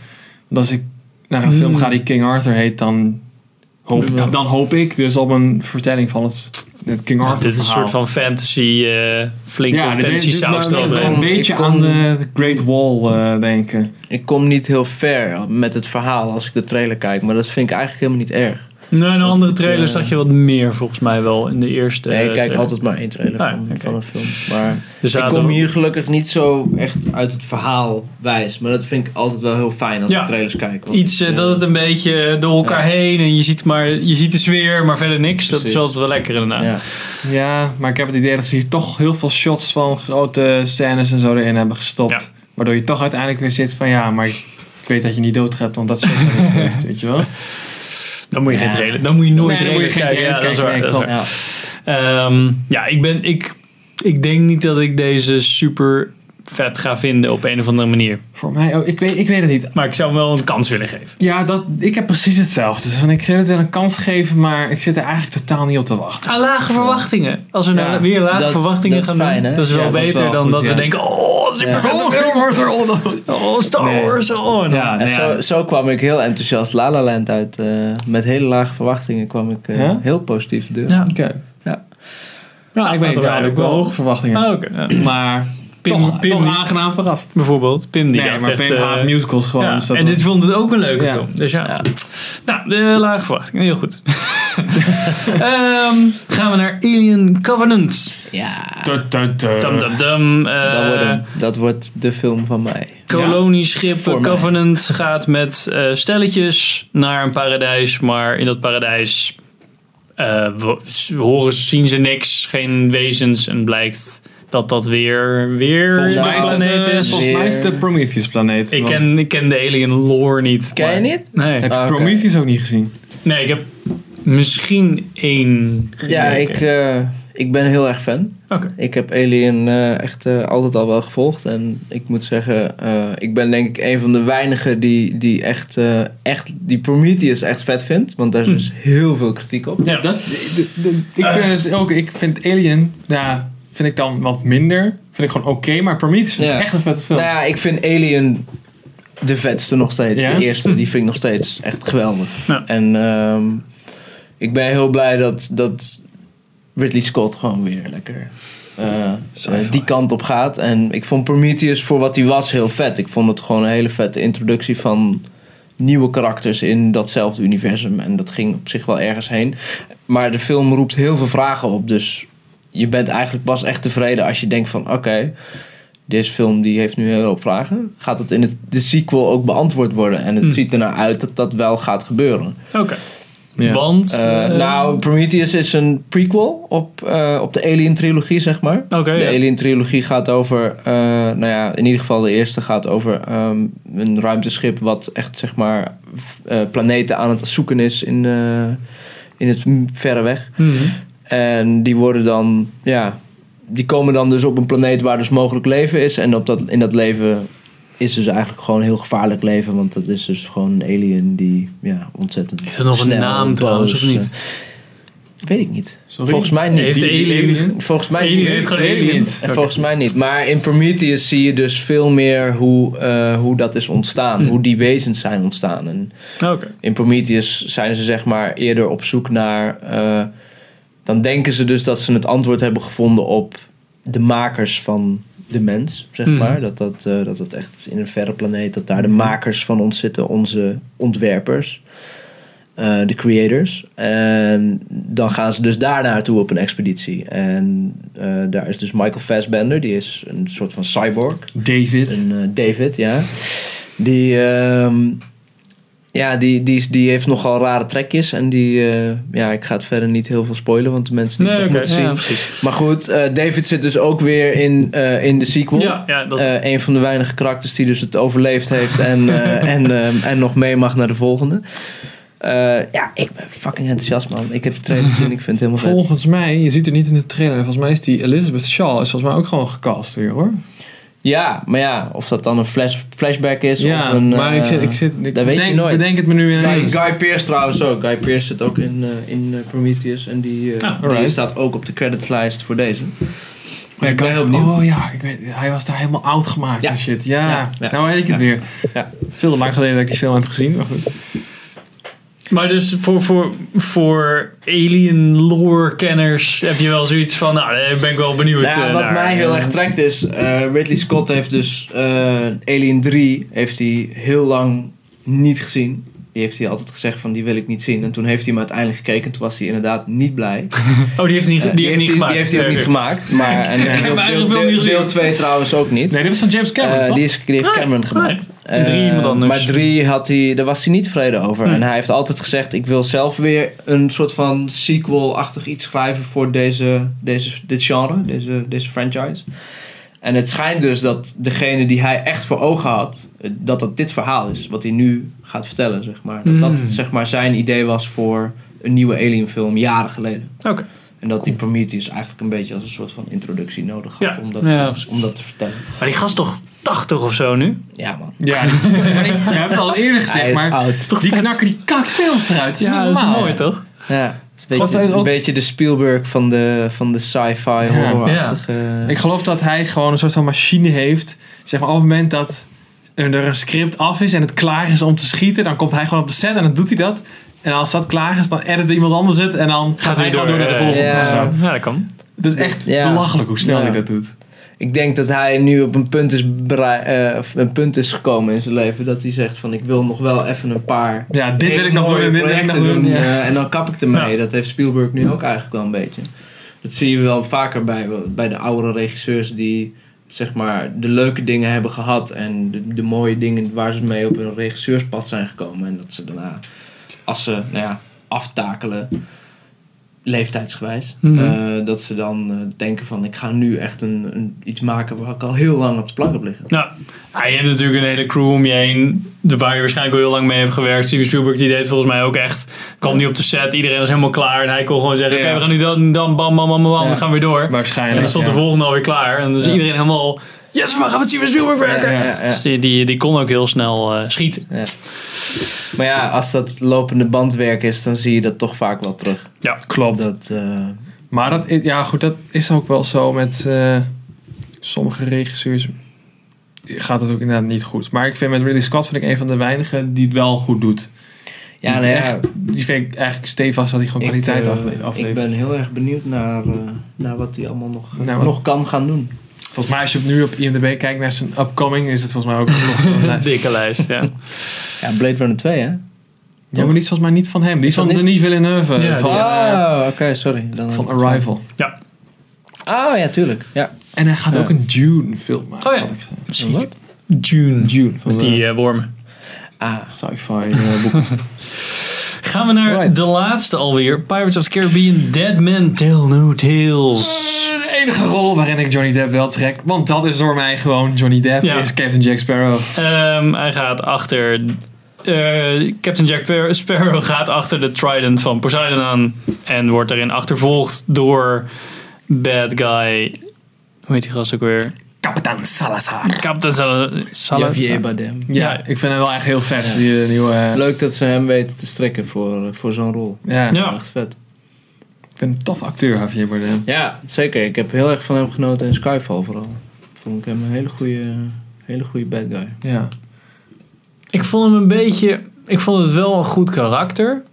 [SPEAKER 2] Want als ik naar een film
[SPEAKER 1] Hmm.
[SPEAKER 2] ga die King Arthur heet, dan hoop, dan hoop ik dus op een vertelling van het, het King
[SPEAKER 1] Ja,
[SPEAKER 2] Arthur
[SPEAKER 1] dit is een
[SPEAKER 2] verhaal.
[SPEAKER 1] soort van fantasy, eh, flinke
[SPEAKER 2] Ja, dit-
[SPEAKER 1] fantasy
[SPEAKER 2] dit-
[SPEAKER 1] saus
[SPEAKER 2] nou, nou,
[SPEAKER 1] eroverheen.
[SPEAKER 2] Een beetje
[SPEAKER 3] Ik kon-
[SPEAKER 2] aan de de Great Wall eh, denken.
[SPEAKER 3] Ik kom niet heel ver met het verhaal als ik de trailer kijk, maar dat vind ik eigenlijk helemaal niet erg.
[SPEAKER 1] Nee, in de andere
[SPEAKER 3] ik,
[SPEAKER 1] trailer
[SPEAKER 3] eh,
[SPEAKER 1] zag je wat meer volgens mij wel in de eerste.
[SPEAKER 3] Nee, ik
[SPEAKER 1] eh,
[SPEAKER 3] kijk
[SPEAKER 1] trailer.
[SPEAKER 3] altijd maar één trailer
[SPEAKER 1] Ah,
[SPEAKER 3] van,
[SPEAKER 1] oké.
[SPEAKER 3] van een film. Maar
[SPEAKER 1] Er zaten
[SPEAKER 3] ik kom
[SPEAKER 1] wel-
[SPEAKER 3] hier gelukkig niet zo echt uit het verhaal wijs, maar dat vind ik altijd wel heel fijn als
[SPEAKER 1] Ja.
[SPEAKER 3] ik trailers kijk. want
[SPEAKER 1] Iets eh,
[SPEAKER 3] ik, eh,
[SPEAKER 1] dat het een beetje door elkaar heen en je ziet, maar, je ziet de sfeer, maar verder niks. Dat is
[SPEAKER 3] Precies.
[SPEAKER 1] altijd wel lekker inderdaad.
[SPEAKER 3] ja.
[SPEAKER 2] Ja, maar ik heb het idee dat ze hier toch heel veel shots van grote scènes en zo erin hebben gestopt.
[SPEAKER 1] Ja.
[SPEAKER 2] Waardoor je toch uiteindelijk weer zit van ja, maar ik weet dat je niet doodgaat, want dat is sowieso niet geweest, weet je wel.
[SPEAKER 1] Dan moet je
[SPEAKER 3] Ja.
[SPEAKER 1] geen trailer, dan moet je nooit
[SPEAKER 2] Nee, dan
[SPEAKER 1] trailer
[SPEAKER 2] moet je geen
[SPEAKER 1] kijken.
[SPEAKER 2] trailers
[SPEAKER 1] Ja, dat is waar,
[SPEAKER 2] kijken,
[SPEAKER 1] dat is
[SPEAKER 2] nee,
[SPEAKER 1] waar.
[SPEAKER 2] klopt.
[SPEAKER 3] Ja.
[SPEAKER 1] Ehm, ja, ik ben. Ik, ik denk niet dat ik deze super vet ga vinden op een of andere manier.
[SPEAKER 2] Voor mij, ook- ik, weet, ik weet het niet.
[SPEAKER 1] Maar ik zou hem wel een kans willen geven.
[SPEAKER 2] Ja, dat, ik heb precies hetzelfde. Dus van, ik wil het wel een kans geven, maar ik zit er eigenlijk totaal niet op te wachten.
[SPEAKER 1] Aan Ah, lage verwachtingen. Als we
[SPEAKER 2] Ja,
[SPEAKER 1] nou weer lage
[SPEAKER 3] dat-
[SPEAKER 1] verwachtingen
[SPEAKER 3] dat is
[SPEAKER 1] gaan
[SPEAKER 3] fijn,
[SPEAKER 1] doen,
[SPEAKER 3] hè?
[SPEAKER 1] dat is wel
[SPEAKER 2] Ja, dat is
[SPEAKER 1] beter
[SPEAKER 2] wel
[SPEAKER 1] dan
[SPEAKER 2] goed,
[SPEAKER 1] dat we
[SPEAKER 2] ja.
[SPEAKER 1] denken: oh, super
[SPEAKER 2] Oh, King Arthur, oh, oh.
[SPEAKER 1] Oh, Star
[SPEAKER 2] Nee.
[SPEAKER 1] Wars. Oh, nou.
[SPEAKER 2] Ja,
[SPEAKER 3] En
[SPEAKER 2] nou ja.
[SPEAKER 3] Zo, zo kwam ik heel enthousiast La La Land uit. eh, met hele lage verwachtingen kwam ik eh,
[SPEAKER 2] Ja?
[SPEAKER 3] heel positief de deur.
[SPEAKER 1] Ja.
[SPEAKER 2] Oké.
[SPEAKER 3] Ja.
[SPEAKER 2] Nou, ik weet
[SPEAKER 1] hadden
[SPEAKER 2] het wel.
[SPEAKER 1] wij
[SPEAKER 2] Ik
[SPEAKER 1] ook
[SPEAKER 2] wel
[SPEAKER 1] wel.
[SPEAKER 2] hoge verwachtingen.
[SPEAKER 1] Ah, oké. Ja.
[SPEAKER 2] Maar
[SPEAKER 1] Pim-
[SPEAKER 2] toch,
[SPEAKER 1] Pim
[SPEAKER 2] toch
[SPEAKER 1] niet.
[SPEAKER 2] aangenaam verrast.
[SPEAKER 1] Bijvoorbeeld, Pim die
[SPEAKER 2] Nee,
[SPEAKER 1] dacht
[SPEAKER 2] maar
[SPEAKER 1] echt...
[SPEAKER 2] Pim
[SPEAKER 1] eh,
[SPEAKER 2] haat musicals gewoon.
[SPEAKER 1] ja.
[SPEAKER 2] dus dat
[SPEAKER 1] en dit vond het ook een leuke
[SPEAKER 2] Ja.
[SPEAKER 1] film. Dus ja.
[SPEAKER 3] Ja.
[SPEAKER 1] Nou, de lage verwachting. Heel goed. Ehm, gaan we naar Alien Covenant.
[SPEAKER 3] Ja.
[SPEAKER 2] Tut, tut, tut.
[SPEAKER 1] Dum, dum, dum. Eh,
[SPEAKER 3] Eh, Dat wordt, hem. dat wordt de film van mij.
[SPEAKER 1] Kolonieschip
[SPEAKER 3] Voor mij.
[SPEAKER 1] Covenant gaat met eh, stelletjes naar een paradijs, maar in dat paradijs eh, wo- s- horen, zien ze niks, geen wezens en blijkt dat dat weer weer
[SPEAKER 2] Volgens
[SPEAKER 1] een
[SPEAKER 2] mij is dat
[SPEAKER 1] planeet
[SPEAKER 2] de,
[SPEAKER 1] is.
[SPEAKER 2] volgens mij is het de Prometheus planeet.
[SPEAKER 1] Ik
[SPEAKER 2] want-
[SPEAKER 1] ken, ik ken de alien lore niet.
[SPEAKER 3] Ken je
[SPEAKER 1] maar-
[SPEAKER 3] niet?
[SPEAKER 1] Nee.
[SPEAKER 2] Heb je
[SPEAKER 3] Ah, oké.
[SPEAKER 2] Prometheus ook niet gezien?
[SPEAKER 1] nee, ik heb misschien één
[SPEAKER 3] Ja,
[SPEAKER 1] gekeken.
[SPEAKER 3] ik, eh, ik ben heel erg fan.
[SPEAKER 1] Oké.
[SPEAKER 3] Ik heb Alien eh, echt eh, altijd al wel gevolgd. En ik moet zeggen, eh, ik ben denk ik een van de weinigen die, die echt, eh, echt die Prometheus echt vet vindt. Want daar is dus heel veel kritiek op.
[SPEAKER 1] Ja.
[SPEAKER 2] Dat, de- de- ik, ben dus ook, ik vind Alien, ja, vind ik dan wat minder. Vind ik gewoon oké, maar Prometheus vind ik
[SPEAKER 3] Ja.
[SPEAKER 2] echt een vette film.
[SPEAKER 3] Nou ja, ik vind Alien de vetste nog steeds.
[SPEAKER 2] Ja? Hm.
[SPEAKER 3] De eerste, die vind ik nog steeds echt geweldig.
[SPEAKER 1] Ja.
[SPEAKER 3] En ehm, ik ben heel blij dat, dat Ridley Scott gewoon weer lekker eh,
[SPEAKER 2] Sci-fi.
[SPEAKER 3] die kant op gaat. En ik vond Prometheus voor wat hij was heel vet. Ik vond het gewoon een hele vette introductie van nieuwe karakters in datzelfde universum. En dat ging op zich wel ergens heen. Maar de film roept heel veel vragen op. Dus je bent eigenlijk pas echt tevreden als je denkt van... oké, deze film die heeft nu een hele hoop vragen. Gaat dat in het, de sequel ook beantwoord worden? En het
[SPEAKER 1] Hmm.
[SPEAKER 3] ziet ernaar uit dat dat wel gaat gebeuren.
[SPEAKER 1] Oké.
[SPEAKER 2] Ja.
[SPEAKER 1] Want.
[SPEAKER 3] Eh,
[SPEAKER 1] eh,
[SPEAKER 3] nou, Prometheus is een prequel op, eh, op de Alien-trilogie, zeg maar.
[SPEAKER 1] Oké.
[SPEAKER 3] De
[SPEAKER 1] ja.
[SPEAKER 3] Alien-trilogie gaat over, eh, nou ja, in ieder geval de eerste gaat over ehm, een ruimteschip wat echt, zeg maar, f- eh, planeten aan het zoeken is in, eh, in het m- verre weg.
[SPEAKER 1] Mhm.
[SPEAKER 3] En die worden dan, ja, die komen dan dus op een planeet waar dus mogelijk leven is. En op dat, in dat leven is dus eigenlijk gewoon heel gevaarlijk leven, want dat is dus gewoon een alien die, ja, ontzettend
[SPEAKER 1] Is er nog
[SPEAKER 3] snel,
[SPEAKER 1] een naam
[SPEAKER 3] boos,
[SPEAKER 1] trouwens of
[SPEAKER 3] eh,
[SPEAKER 1] niet?
[SPEAKER 3] Weet ik niet.
[SPEAKER 2] Sorry?
[SPEAKER 3] Volgens mij niet.
[SPEAKER 1] Heeft de
[SPEAKER 2] Die- die
[SPEAKER 1] alien-
[SPEAKER 3] Volgens mij
[SPEAKER 1] Alien
[SPEAKER 3] niet.
[SPEAKER 1] heet gewoon
[SPEAKER 2] Alien.
[SPEAKER 1] Alien.
[SPEAKER 2] En
[SPEAKER 3] En volgens mij niet. Maar in Prometheus zie je dus veel meer hoe, eh, hoe dat is ontstaan.
[SPEAKER 1] Mm.
[SPEAKER 3] Hoe die wezens zijn ontstaan. En
[SPEAKER 1] Oké.
[SPEAKER 3] in Prometheus zijn ze zeg maar eerder op zoek naar... eh, dan denken ze dus dat ze het antwoord hebben gevonden op de makers van de mens, zeg
[SPEAKER 1] Mm.
[SPEAKER 3] maar. Dat dat, eh, dat dat echt in een verre planeet, dat daar de makers van ons zitten. Onze ontwerpers, eh, de creators. En dan gaan ze dus daar naartoe op een expeditie. En eh, daar is dus Michael Fassbender, die is een soort van cyborg.
[SPEAKER 2] David.
[SPEAKER 3] Een eh, David, ja. Die, ehm, ja, die, die, is- die heeft nogal rare trekjes. En die, eh, ja, ik ga het verder niet heel veel spoilen, want de mensen die
[SPEAKER 1] Nee,
[SPEAKER 3] het
[SPEAKER 1] Eh, oké.
[SPEAKER 3] nog moeten
[SPEAKER 1] Ja,
[SPEAKER 3] zien.
[SPEAKER 1] precies.
[SPEAKER 3] Maar goed, eh, David zit dus ook weer in, eh, in de sequel.
[SPEAKER 1] Ja, ja, dat
[SPEAKER 3] Eh, een van de weinige karakters die dus het overleefd heeft en, eh, en, ehm, en nog mee mag naar de volgende. Eh, ja, ik ben fucking enthousiast, man. Ik heb de trailer gezien, ik vind het helemaal vet.
[SPEAKER 2] Volgens mij, je ziet het niet in de trailer, volgens mij is die Elizabeth Shaw is volgens mij ook gewoon gecast weer hoor.
[SPEAKER 3] Ja, maar ja, of dat dan een flash, flashback is
[SPEAKER 2] ja,
[SPEAKER 3] of een...
[SPEAKER 2] maar ik,
[SPEAKER 3] eh,
[SPEAKER 2] zit, ik, zit, ik
[SPEAKER 3] dat weet je
[SPEAKER 2] denk,
[SPEAKER 3] nooit.
[SPEAKER 2] bedenk het me nu
[SPEAKER 3] Guy,
[SPEAKER 1] Hmm.
[SPEAKER 2] ineens.
[SPEAKER 3] Guy Pearce trouwens ook. Guy Pearce zit ook in, eh, in eh, Prometheus. En die, eh,
[SPEAKER 1] Ah,
[SPEAKER 3] die
[SPEAKER 2] alright.
[SPEAKER 3] staat ook op de creditlijst voor deze.
[SPEAKER 2] Ja,
[SPEAKER 3] ik ben
[SPEAKER 2] Guy-
[SPEAKER 3] heel benieuwd.
[SPEAKER 2] Oh ja, ik weet, hij was daar helemaal oud gemaakt
[SPEAKER 3] Ja.
[SPEAKER 2] en shit. Ja,
[SPEAKER 3] Ja, ja.
[SPEAKER 2] nou weet ik het
[SPEAKER 3] Ja.
[SPEAKER 2] weer.
[SPEAKER 3] Ja.
[SPEAKER 2] Veel te lang geleden dat ik die film heb gezien, maar goed.
[SPEAKER 1] Maar dus voor, voor, voor alien lore kenners heb je wel zoiets van, nou, daar ben ik wel benieuwd
[SPEAKER 3] Nou,
[SPEAKER 1] eh,
[SPEAKER 3] wat
[SPEAKER 1] naar.
[SPEAKER 3] mij heel
[SPEAKER 1] Eh,
[SPEAKER 3] erg trekt is, eh, Ridley Scott heeft dus eh, Alien 3 heeft hij heel lang niet gezien. Die heeft hij altijd gezegd van die wil ik niet zien. En toen heeft hij hem uiteindelijk gekeken. En toen was hij inderdaad niet blij.
[SPEAKER 1] Oh, die heeft niet,
[SPEAKER 3] Eh,
[SPEAKER 1] die heeft niet
[SPEAKER 3] hij-
[SPEAKER 1] gemaakt.
[SPEAKER 3] Die heeft hij ook niet
[SPEAKER 1] Oké.
[SPEAKER 3] gemaakt. Maar, en, en
[SPEAKER 1] heb
[SPEAKER 3] deel,
[SPEAKER 1] mijn eigen
[SPEAKER 3] deel,
[SPEAKER 1] film niet
[SPEAKER 3] deel,
[SPEAKER 1] gezien.
[SPEAKER 3] deel 2 trouwens ook niet.
[SPEAKER 2] Nee, dit was van James Cameron,
[SPEAKER 3] Eh,
[SPEAKER 2] toch?
[SPEAKER 3] die, is, die heeft
[SPEAKER 1] Ah,
[SPEAKER 3] Cameron gemaakt.
[SPEAKER 1] En drie
[SPEAKER 3] Eh,
[SPEAKER 1] iemand anders.
[SPEAKER 3] Maar drie had hij, daar was hij niet tevreden over.
[SPEAKER 1] Hmm.
[SPEAKER 3] En hij heeft altijd gezegd: Ik wil zelf weer een soort van sequel-achtig iets schrijven voor deze, deze, dit genre, deze, deze franchise. En het schijnt dus dat degene die hij echt voor ogen had, eh, dat dat dit verhaal is, wat hij nu gaat vertellen, zeg maar. Dat dat
[SPEAKER 1] Hmm.
[SPEAKER 3] zeg maar zijn idee was voor een nieuwe Alien-film jaren geleden.
[SPEAKER 1] Oké.
[SPEAKER 3] En dat die Prometheus eigenlijk een beetje als een soort van introductie nodig had
[SPEAKER 1] Ja.
[SPEAKER 3] om, dat,
[SPEAKER 1] Ja,
[SPEAKER 3] om dat te vertellen.
[SPEAKER 1] Maar die gast is toch 80 of zo nu?
[SPEAKER 3] Ja, man.
[SPEAKER 2] Ja, die- maar ik- we hebben het al eerder
[SPEAKER 3] Hij
[SPEAKER 2] gezegd,
[SPEAKER 3] is
[SPEAKER 2] maar
[SPEAKER 3] oud.
[SPEAKER 2] die knakken die kakfilms eruit. Dat is
[SPEAKER 1] Ja,
[SPEAKER 2] niet
[SPEAKER 1] dat is
[SPEAKER 2] normaal.
[SPEAKER 1] mooi toch?
[SPEAKER 3] Ja, het is een
[SPEAKER 2] Geloof
[SPEAKER 3] beetje,
[SPEAKER 2] dat ook-
[SPEAKER 3] een beetje de Spielberg van de, van de sci-fi horrorachtige...
[SPEAKER 2] Ik geloof dat hij gewoon een soort van machine heeft. Zeg maar op het moment dat er een script af is en het klaar is om te schieten, dan komt hij gewoon op de set en dan doet hij dat. En als dat klaar is, dan edit iemand anders het en dan gaat, hij
[SPEAKER 1] hij
[SPEAKER 2] gewoon door naar de
[SPEAKER 1] eh,
[SPEAKER 2] volgende.
[SPEAKER 3] ja.
[SPEAKER 2] of zo.
[SPEAKER 1] Ja, dat kan.
[SPEAKER 2] Het is echt
[SPEAKER 3] Ja.
[SPEAKER 2] belachelijk hoe snel
[SPEAKER 3] Ja.
[SPEAKER 2] hij dat doet.
[SPEAKER 3] Ik denk dat hij nu op een punt, is berei- eh, of een punt is gekomen in zijn leven dat hij zegt van ik wil nog wel even een paar...
[SPEAKER 2] Ja, dit wil ik nog
[SPEAKER 3] hele
[SPEAKER 2] doen en
[SPEAKER 3] mooie
[SPEAKER 2] dit wil ik nog
[SPEAKER 3] projecten
[SPEAKER 2] doen. Ja.
[SPEAKER 3] eh, en dan kap ik ermee. Dat heeft Spielberg nu ook eigenlijk wel een beetje. Dat zie je wel vaker bij, bij de oudere regisseurs die zeg maar de leuke dingen hebben gehad en de, de mooie dingen waar ze mee op hun regisseurspad zijn gekomen. En dat ze daarna, als ze nou ja, aftakelen, leeftijdsgewijs,
[SPEAKER 1] Mhm.
[SPEAKER 3] eh, dat ze dan eh, denken van ik ga nu echt een, een, iets maken waar ik al heel lang op de plank heb liggen.
[SPEAKER 1] Nou, ja, je hebt natuurlijk een hele crew om je heen. de- Waar je waarschijnlijk al heel lang mee hebt gewerkt. Steven Spielberg die deed volgens mij ook echt. Kwam niet op de set. Iedereen was helemaal klaar. En hij kon gewoon zeggen.
[SPEAKER 2] Ja.
[SPEAKER 1] Oké, we gaan nu dan, dan bam, bam, bam, bam.
[SPEAKER 3] Ja.
[SPEAKER 1] We gaan weer door. En
[SPEAKER 2] Waarschijnlijk.
[SPEAKER 1] dan stond de
[SPEAKER 2] ja.
[SPEAKER 1] volgende alweer klaar. En dan is
[SPEAKER 3] Ja.
[SPEAKER 1] iedereen helemaal... Yes, we gaan met Steven Spielberg werken.
[SPEAKER 2] Ja, ja,
[SPEAKER 3] ja.
[SPEAKER 1] Dus die, die, die kon ook heel snel eh, schieten.
[SPEAKER 3] Ja. Maar ja, als dat lopende bandwerk is, dan zie je dat toch vaak wel terug.
[SPEAKER 2] Klopt.
[SPEAKER 3] Dat, eh,
[SPEAKER 2] Maar dat, i- ja, goed, dat is ook wel zo met eh, sommige regisseurs. Gaat het ook inderdaad niet goed. Maar ik vind met Ridley Scott vind ik een van de weinigen die het wel goed doet.
[SPEAKER 3] ja,
[SPEAKER 2] die,
[SPEAKER 3] nou ja,
[SPEAKER 2] echt, die vind ik eigenlijk stevast dat hij gewoon
[SPEAKER 3] ik,
[SPEAKER 2] kwaliteit
[SPEAKER 3] eh,
[SPEAKER 2] afle-
[SPEAKER 3] ik
[SPEAKER 2] aflevert.
[SPEAKER 3] ben heel erg benieuwd naar, eh, naar wat hij allemaal nog,
[SPEAKER 2] Nou, wat-
[SPEAKER 3] nog kan gaan doen.
[SPEAKER 2] Volgens mij als je op nu op IMDb kijkt naar zijn upcoming is het volgens mij ook nog zo'n lijst.
[SPEAKER 1] Dikke lijst, ja.
[SPEAKER 3] Ja, Blade Runner 2, hè?
[SPEAKER 2] Ja, maar die is volgens mij niet van hem. Die is,
[SPEAKER 3] Is dat
[SPEAKER 2] van
[SPEAKER 3] niet-
[SPEAKER 2] Denis Villeneuve.
[SPEAKER 1] Ja,
[SPEAKER 2] van, eh,
[SPEAKER 3] oh, oké, sorry. Dan
[SPEAKER 2] van Arrival.
[SPEAKER 3] Oh, ja, tuurlijk. Ja.
[SPEAKER 2] En hij gaat
[SPEAKER 3] Ja.
[SPEAKER 2] ook een Dune film maken.
[SPEAKER 1] Oh ja.
[SPEAKER 2] had ik gezien.
[SPEAKER 1] Precies. June.
[SPEAKER 2] Dune. Van
[SPEAKER 1] Met
[SPEAKER 2] die
[SPEAKER 1] die eh, wormen.
[SPEAKER 3] Ah,
[SPEAKER 2] sci-fi eh, boek.
[SPEAKER 1] Gaan we naar
[SPEAKER 2] Right.
[SPEAKER 1] de laatste alweer. Pirates of the Caribbean, Dead Men Tell No Tales.
[SPEAKER 2] Eh, De enige rol waarin ik Johnny Depp wel trek. Want dat is door mij gewoon Johnny Depp
[SPEAKER 1] Ja.
[SPEAKER 2] is Captain Jack Sparrow.
[SPEAKER 1] Ehm, hij gaat achter. eh, Captain Jack Par- Sparrow gaat achter de Trident van Poseidon aan. En wordt daarin achtervolgd door Bad Guy. Hoe heet die gast ook weer?
[SPEAKER 2] Kapitaan Salazar.
[SPEAKER 1] Captain Sal Salazar.
[SPEAKER 3] Javier Bardem.
[SPEAKER 2] Ja,
[SPEAKER 1] Ja.
[SPEAKER 2] ik vind hem wel echt heel vet. Die eh, nieuwe... eh,
[SPEAKER 3] Leuk dat ze hem weten te strikken voor, eh, voor zo'n rol.
[SPEAKER 2] ja.
[SPEAKER 1] Ja.
[SPEAKER 3] Echt vet.
[SPEAKER 2] ik vind hem een tof acteur, Javier Bardem.
[SPEAKER 3] Ja, zeker. Ik heb heel erg van hem genoten in Skyfall vooral. Vond ik hem een hele goede, hele goede bad guy.
[SPEAKER 2] Ja.
[SPEAKER 1] Ik vond hem een beetje. Ik vond het wel een goed karakter.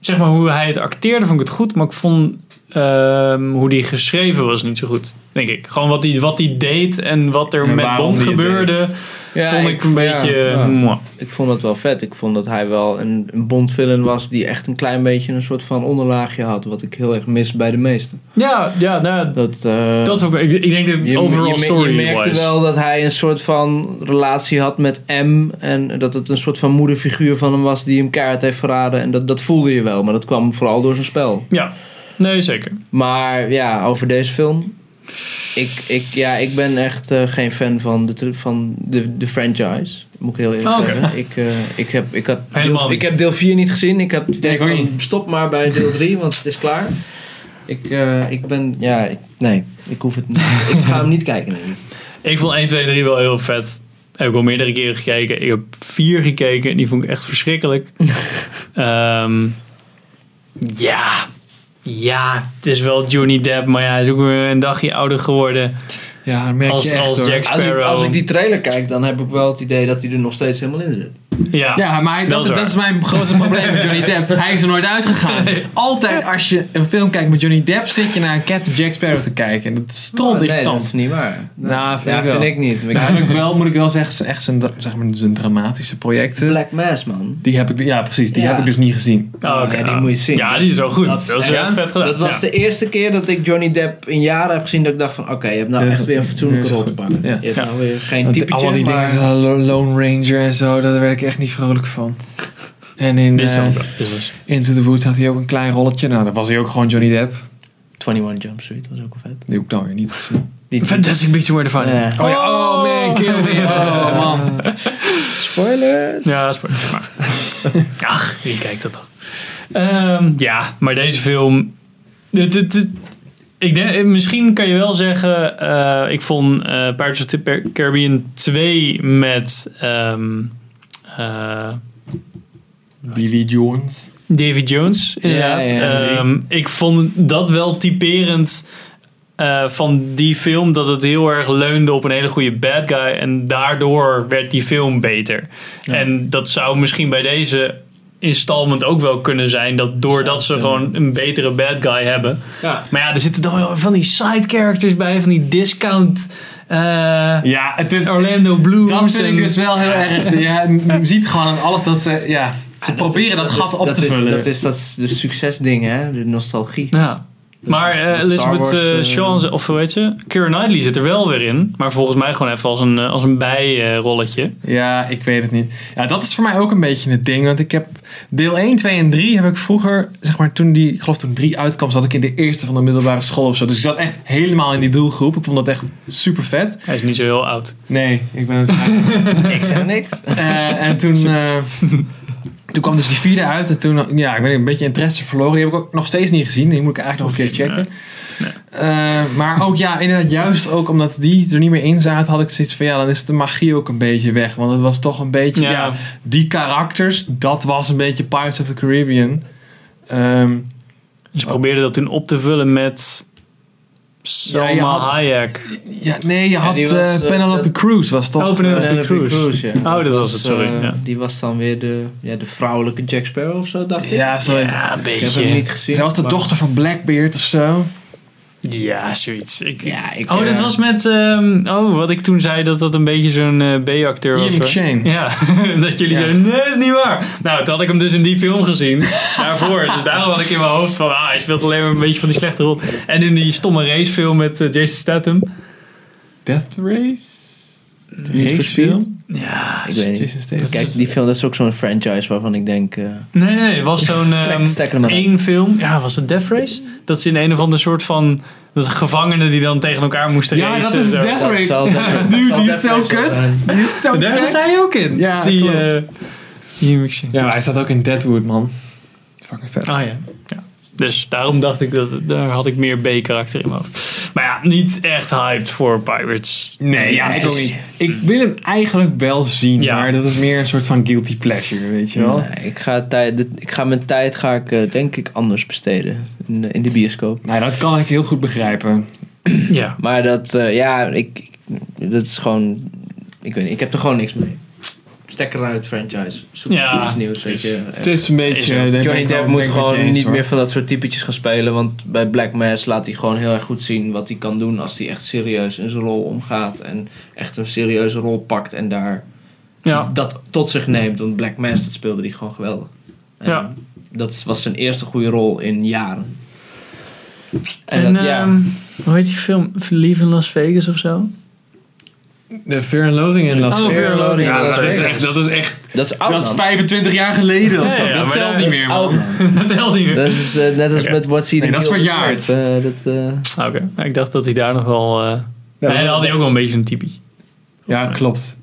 [SPEAKER 1] Zeg maar hoe hij het acteerde, vond ik het goed. Maar ik vond ehm, hoe die geschreven was niet zo goed. Denk ik. Gewoon wat hij wat die deed en wat er
[SPEAKER 2] En
[SPEAKER 1] met
[SPEAKER 2] waarom
[SPEAKER 1] Bond
[SPEAKER 2] die het
[SPEAKER 1] gebeurde. vond ik, een beetje. eh,
[SPEAKER 3] ja.
[SPEAKER 1] mwah.
[SPEAKER 3] Ik vond dat wel vet. Ik vond dat hij wel een, een bondvillain was die echt een klein beetje een soort van onderlaagje had. Wat ik heel erg mis bij de meesten.
[SPEAKER 1] Ja, ja, nou,
[SPEAKER 3] Dat, eh,
[SPEAKER 1] Dat is ook, ik, ik denk dat
[SPEAKER 3] je,
[SPEAKER 1] overall
[SPEAKER 3] je,
[SPEAKER 1] story
[SPEAKER 3] je merkte
[SPEAKER 1] wise.
[SPEAKER 3] wel dat hij een soort van relatie had met M. En dat het een soort van moederfiguur van hem was die hem keihard heeft verraden. En dat, dat voelde je wel, maar dat kwam vooral door zijn spel.
[SPEAKER 1] Ja, nee zeker.
[SPEAKER 3] Maar ja, over deze film. Ik, ik, ja, ik ben echt eh, geen fan van de, tri- van de, de franchise. Moet ik heel eerlijk
[SPEAKER 1] Oh, oké.
[SPEAKER 3] zeggen. Ik, eh, ik, heb, ik, heb
[SPEAKER 1] Helemaal
[SPEAKER 3] deel,
[SPEAKER 1] niet.
[SPEAKER 3] ik heb deel 4 niet gezien. Ik heb het idee
[SPEAKER 2] ik ook
[SPEAKER 3] van,
[SPEAKER 2] niet.
[SPEAKER 3] stop maar bij deel 3, want het is klaar. Ik, eh, ik ben, ja, ik- nee, ik hoef het niet. Ik ga hem niet kijken. nee.
[SPEAKER 1] Ik vond 1, 2, 3 wel heel vet. Heb ik al meerdere keren gekeken. Ik heb 4 gekeken en die vond ik echt verschrikkelijk. Ehm, ja. Ja, het is wel Johnny Depp, maar ja, hij is ook weer een dagje ouder geworden.
[SPEAKER 2] Ja, dat merk
[SPEAKER 1] Als-
[SPEAKER 2] je echt
[SPEAKER 1] als
[SPEAKER 2] hoor.
[SPEAKER 1] Jack-
[SPEAKER 3] Als ik,
[SPEAKER 1] Sparrow.
[SPEAKER 3] als ik die trailer kijk, dan heb ik wel het idee dat hij er nog steeds helemaal in zit.
[SPEAKER 1] Ja,
[SPEAKER 2] Ja, maar hij-
[SPEAKER 1] Dat
[SPEAKER 2] dat,
[SPEAKER 1] is
[SPEAKER 2] dat, is
[SPEAKER 1] waar.
[SPEAKER 2] mijn grootste probleem met Johnny Depp. Hij is er nooit uitgegaan. Altijd als je een film kijkt met Johnny Depp, zit je naar een Captain Jack Sparrow te kijken. En dat stond
[SPEAKER 3] Oh, nee,
[SPEAKER 2] irritant.
[SPEAKER 3] dat is niet waar.
[SPEAKER 2] Nou, vind
[SPEAKER 3] ja,
[SPEAKER 2] ik wel.
[SPEAKER 3] vind ik niet. Ik-
[SPEAKER 2] Nou, heb ik wel, moet ik wel zeggen, zijn echt zijn, dra- zeg maar, zijn dramatische projecten.
[SPEAKER 3] Black Mass, man.
[SPEAKER 2] Die heb ik, ja precies, die
[SPEAKER 3] Ja.
[SPEAKER 2] heb ik dus niet gezien.
[SPEAKER 1] Oh, oké,
[SPEAKER 3] Ja, die
[SPEAKER 1] nou.
[SPEAKER 3] moet je zien.
[SPEAKER 1] Ja, die is wel goed.
[SPEAKER 3] Dat
[SPEAKER 1] Dat,
[SPEAKER 3] is
[SPEAKER 1] is
[SPEAKER 3] echt-
[SPEAKER 1] echt vet gedaan.
[SPEAKER 3] Dat was
[SPEAKER 1] ja.
[SPEAKER 3] de eerste keer dat ik Johnny Depp in jaren heb gezien dat ik dacht van oké, je hebt nou
[SPEAKER 2] Dit is
[SPEAKER 3] echt
[SPEAKER 2] een-
[SPEAKER 3] weer een fatsoenlijke
[SPEAKER 2] dit is
[SPEAKER 3] rol te
[SPEAKER 2] goed.
[SPEAKER 3] pakken.
[SPEAKER 2] Dus Ja.
[SPEAKER 3] Je hebt
[SPEAKER 1] Ja.
[SPEAKER 3] nou weer geen
[SPEAKER 2] Want die-
[SPEAKER 3] typetje,
[SPEAKER 2] al die
[SPEAKER 3] maar...
[SPEAKER 2] dingen, zo, Lo- Lone Ranger en zo, daar werd ik echt niet vrolijk van. En in
[SPEAKER 1] Dit is
[SPEAKER 2] eh,
[SPEAKER 1] ook wel- dit is-
[SPEAKER 2] Into the Woods had hij ook een klein rolletje. Nou, dat was hij ook gewoon Johnny Depp.
[SPEAKER 3] 21 Jump Street was ook wel vet.
[SPEAKER 2] Die heb ik dan weer niet gezien.
[SPEAKER 3] Die-
[SPEAKER 1] Fantastic Beasts and Where to Find Them.
[SPEAKER 3] Ja.
[SPEAKER 2] Oh, ja, oh man, kill me. Oh man.
[SPEAKER 3] Spoilers!
[SPEAKER 1] Ja, dat is mooi. maar. Ach, wie kijkt dat dan? Ehm, ja, maar deze film. Het, het, het- ik denk, eh, misschien kan je wel zeggen. eh, ik vond eh Pirates of the Per- Caribbean 2 met. ehm, eh,
[SPEAKER 2] B.B. Jones.
[SPEAKER 1] Davy Jones, inderdaad.
[SPEAKER 3] Ja, ja,
[SPEAKER 1] Ehm, ik vond dat wel typerend eh, van die film. Dat het heel erg leunde op een hele goede bad guy. En daardoor werd die film beter. En dat zou misschien bij deze installment ook wel kunnen zijn. Dat doordat ze gewoon een betere bad guy hebben.
[SPEAKER 2] Ja.
[SPEAKER 3] Dus
[SPEAKER 1] Maar ja, er zitten dan wel van die side characters bij. Van die discount eh,
[SPEAKER 2] Ja, het is,
[SPEAKER 1] Orlando Blues.
[SPEAKER 2] dat vind ik
[SPEAKER 1] en-
[SPEAKER 2] dus wel heel erg. Ja, je ziet gewoon aan alles dat ze, ja, ze proberen dat, gat
[SPEAKER 3] Ah, is-
[SPEAKER 2] op
[SPEAKER 3] dat
[SPEAKER 2] te
[SPEAKER 3] is-
[SPEAKER 2] vullen.
[SPEAKER 3] Dat is, dat is de succesding, hè? De nostalgie.
[SPEAKER 1] Ja. Maar
[SPEAKER 3] is
[SPEAKER 1] eh,
[SPEAKER 3] met Star
[SPEAKER 1] Elizabeth
[SPEAKER 3] Wars,
[SPEAKER 1] eh,
[SPEAKER 3] eh,
[SPEAKER 1] Shaw, of hoe heet ze? Keira Knightley zit er wel weer in. Maar volgens mij gewoon even als een, eh, als een bijrolletje.
[SPEAKER 2] Ja, ik weet het niet. Ja, dat is voor mij ook een beetje het ding. Want ik heb deel 1, 2 en 3 heb ik vroeger, zeg maar toen die, ik geloof toen 3 uitkwam, zat ik in de eerste van de middelbare school of zo. Dus ik zat echt helemaal in die doelgroep. Ik vond dat echt super vet.
[SPEAKER 1] Hij is niet zo heel oud.
[SPEAKER 2] Nee, ik ben het.
[SPEAKER 3] Ik zeg niks.
[SPEAKER 2] Eh, en toen, eh, toen kwam dus die vierde uit. En toen, ja, ik ben een beetje interesse verloren. Die heb ik ook nog steeds niet gezien. Die moet ik eigenlijk nog een keer checken. Eh, maar ook ja, inderdaad, juist ook omdat die er niet meer in zaten, had ik zoiets van ja, dan is de magie ook een beetje weg. Want het was toch een beetje, ja,
[SPEAKER 1] Ja.
[SPEAKER 2] die karakters, dat was een beetje Pirates of the Caribbean. Ehm,
[SPEAKER 1] Dus Ze probeerden dat toen op te vullen met Selma
[SPEAKER 2] Ja, je had-
[SPEAKER 1] Hayek.
[SPEAKER 2] ja, nee, je had
[SPEAKER 3] die
[SPEAKER 2] eh,
[SPEAKER 3] was, eh,
[SPEAKER 2] Penelope
[SPEAKER 3] dat-
[SPEAKER 2] Cruz, was toch?
[SPEAKER 1] Oh, Penelope
[SPEAKER 2] eh,
[SPEAKER 3] Penelope
[SPEAKER 1] Cruz.
[SPEAKER 3] Cruz, ja.
[SPEAKER 1] Oh, dat was het, sorry,
[SPEAKER 3] eh,
[SPEAKER 1] ja.
[SPEAKER 3] Die was dan weer de, ja, de vrouwelijke Jack Sparrow of zo, dacht ik.
[SPEAKER 2] ja, zo is het.
[SPEAKER 1] Ja, een
[SPEAKER 3] ik heb hem niet gezien.
[SPEAKER 2] Zij was de
[SPEAKER 3] maar-
[SPEAKER 2] dochter van Blackbeard of zo.
[SPEAKER 1] Ja, zoiets. Ik,
[SPEAKER 3] Ja, ik,
[SPEAKER 1] oh, dat
[SPEAKER 3] eh,
[SPEAKER 1] was met... ehm, oh, wat ik toen zei, dat dat een beetje zo'n eh, B-acteur was.
[SPEAKER 2] Ian
[SPEAKER 1] hoor.
[SPEAKER 2] McShane.
[SPEAKER 1] Ja, dat jullie
[SPEAKER 2] Ja.
[SPEAKER 1] zeiden, nee, is niet waar. Nou, toen had ik hem dus in die film gezien, daarvoor. Dus daarom had ik in mijn hoofd van, ah, hij speelt alleen maar een beetje van die slechte rol. En in die stomme racefilm met eh, Jason Statham.
[SPEAKER 2] Death Race?
[SPEAKER 3] Racefilm?
[SPEAKER 1] Ja,
[SPEAKER 3] Ik weet niet.
[SPEAKER 2] Jason Statham.
[SPEAKER 3] Kijk, die film, dat is ook zo'n franchise waarvan ik denk... eh
[SPEAKER 1] nee, nee, het was zo'n
[SPEAKER 3] trek
[SPEAKER 1] ehm,
[SPEAKER 3] de stekker maar uit.
[SPEAKER 1] één film. Ja, was het Death Race? Dat ze in een of ander soort van... Dat gevangenen die dan tegen elkaar moesten
[SPEAKER 2] Ja,
[SPEAKER 1] racen.
[SPEAKER 2] dat is
[SPEAKER 1] en zo.
[SPEAKER 2] Death
[SPEAKER 3] Dat
[SPEAKER 2] Race.
[SPEAKER 3] zal- dat- dat
[SPEAKER 2] Dude,
[SPEAKER 3] zal
[SPEAKER 2] die
[SPEAKER 3] Death
[SPEAKER 2] is zo
[SPEAKER 3] Race wel
[SPEAKER 2] kut.
[SPEAKER 3] zijn.
[SPEAKER 2] Die is zo
[SPEAKER 1] Daar zit
[SPEAKER 2] kut.
[SPEAKER 1] hij ook in.
[SPEAKER 2] Ja, dat
[SPEAKER 1] die,
[SPEAKER 2] klopt.
[SPEAKER 1] eh, Ian McShane.
[SPEAKER 2] Ja, maar hij staat ook in Deadwood, man. Fucking vet.
[SPEAKER 1] Ah ja. ja. Dus daarom dacht ik dat daar had ik meer B-karakter in mijn hoofd. Maar ja, niet echt hyped voor Pirates.
[SPEAKER 2] Nee, ja,
[SPEAKER 1] Het
[SPEAKER 2] ik
[SPEAKER 1] is-
[SPEAKER 2] ook niet. Ik wil hem eigenlijk wel zien,
[SPEAKER 1] Ja.
[SPEAKER 2] maar dat is meer een soort van guilty pleasure, weet je wel?
[SPEAKER 3] Nee, ik, ga tijd, dit- ik ga mijn tijd, ga ik, eh, denk ik, anders besteden. In, eh, in de bioscoop.
[SPEAKER 2] Nou, dat kan ik heel goed begrijpen.
[SPEAKER 1] Ja.
[SPEAKER 3] Maar dat, eh, ja, ik, ik- dat is gewoon, ik weet niet, ik heb er gewoon niks mee. Stekker uit franchise, zoek
[SPEAKER 1] Ja.
[SPEAKER 3] iets nieuws, weet je. Eh,
[SPEAKER 2] Het is een beetje...
[SPEAKER 1] Is er.
[SPEAKER 2] daar ben
[SPEAKER 3] Johnny
[SPEAKER 2] ik wel-
[SPEAKER 3] Depp
[SPEAKER 2] ben
[SPEAKER 3] moet
[SPEAKER 2] ik met je
[SPEAKER 3] gewoon
[SPEAKER 2] eens,
[SPEAKER 3] niet
[SPEAKER 2] hoor.
[SPEAKER 3] meer van dat soort typetjes gaan spelen, want bij Black Mass laat hij gewoon heel erg goed zien wat hij kan doen als hij echt serieus in zijn rol omgaat en echt een serieuze rol pakt en daar
[SPEAKER 1] Ja.
[SPEAKER 3] dat tot zich neemt. Want Black Mass, dat speelde hij gewoon geweldig. En
[SPEAKER 1] Ja.
[SPEAKER 3] Dat was zijn eerste goede rol in jaren. En,
[SPEAKER 1] En,
[SPEAKER 3] dat, ja,
[SPEAKER 1] ehm, hoe heet die film? Lief in Las Vegas of zo?
[SPEAKER 2] De Fear and Loathing in Las
[SPEAKER 1] Oh, Fear and Loathing in
[SPEAKER 2] Ja,
[SPEAKER 1] Las
[SPEAKER 2] dat is
[SPEAKER 3] Vegas.
[SPEAKER 2] echt... Dat is, echt,
[SPEAKER 3] dat is oud
[SPEAKER 2] dat is
[SPEAKER 3] man.
[SPEAKER 2] 25 jaar geleden of
[SPEAKER 1] Ja,
[SPEAKER 2] zo.
[SPEAKER 1] ja,
[SPEAKER 2] dat
[SPEAKER 1] maar
[SPEAKER 2] telt
[SPEAKER 1] dat-
[SPEAKER 2] niet
[SPEAKER 3] Dat is
[SPEAKER 2] meer,
[SPEAKER 3] oud,
[SPEAKER 2] man.
[SPEAKER 3] man.
[SPEAKER 1] dat telt niet meer.
[SPEAKER 3] Dat is eh, net als
[SPEAKER 1] Oké.
[SPEAKER 3] met What's Eating
[SPEAKER 2] Nee, dat is
[SPEAKER 3] Gilbert
[SPEAKER 2] verjaard.
[SPEAKER 3] Grape. Eh, dat, eh,
[SPEAKER 1] Ah, Oké. Nou, ik dacht dat hij daar nog wel... eh nee, dan had hij ook wel een beetje een typie.
[SPEAKER 2] Ja, klopt.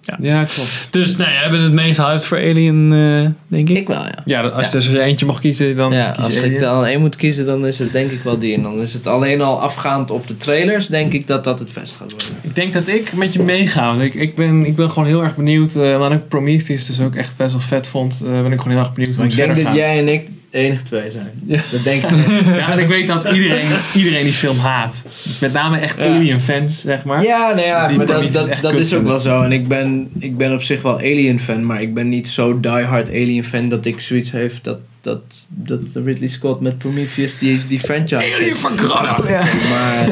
[SPEAKER 1] Ja.
[SPEAKER 2] Ja, klopt.
[SPEAKER 1] Dus nou, jij bent het meest hyped voor Alien, eh, denk ik.
[SPEAKER 3] ik wel, ja.
[SPEAKER 2] Ja, als,
[SPEAKER 3] Ja.
[SPEAKER 2] als je er eentje mag kiezen, dan
[SPEAKER 3] ja
[SPEAKER 2] kies je
[SPEAKER 3] als
[SPEAKER 2] Alien.
[SPEAKER 3] ik er al één moet kiezen, dan is het denk ik wel die. En dan is het alleen al afgaand op de trailers, denk ik dat dat het best gaat worden.
[SPEAKER 2] Ik denk dat ik met je meega. want Ik, ik, ben, ik ben gewoon heel erg benieuwd. eh want ik Prometheus dus ook echt best wel vet vond. eh, ben ik gewoon heel erg benieuwd hoe
[SPEAKER 3] Maar
[SPEAKER 2] het
[SPEAKER 3] ik denk
[SPEAKER 2] verder
[SPEAKER 3] dat
[SPEAKER 2] gaat.
[SPEAKER 3] jij en ik de enige twee zijn.
[SPEAKER 2] Ja.
[SPEAKER 3] Dat denk ik. echt.
[SPEAKER 2] Ja, en ik weet dat iedereen, iedereen die film haat. Met name echt
[SPEAKER 3] Ja.
[SPEAKER 2] Alien fans, zeg maar.
[SPEAKER 3] Ja, nou ja,
[SPEAKER 2] Die
[SPEAKER 3] maar dat,
[SPEAKER 2] Prometheus is
[SPEAKER 3] dat,
[SPEAKER 2] echt
[SPEAKER 3] dat
[SPEAKER 2] kut,
[SPEAKER 3] is ook
[SPEAKER 2] vind
[SPEAKER 3] wel zo. En ik ben, ik ben op zich wel Alien-fan, maar ik ben niet zo die-hard Alien-fan dat ik zoiets heeft dat, dat, dat Ridley Scott met Prometheus die, die franchise... heeft.
[SPEAKER 2] verkracht! Ja.
[SPEAKER 3] Maar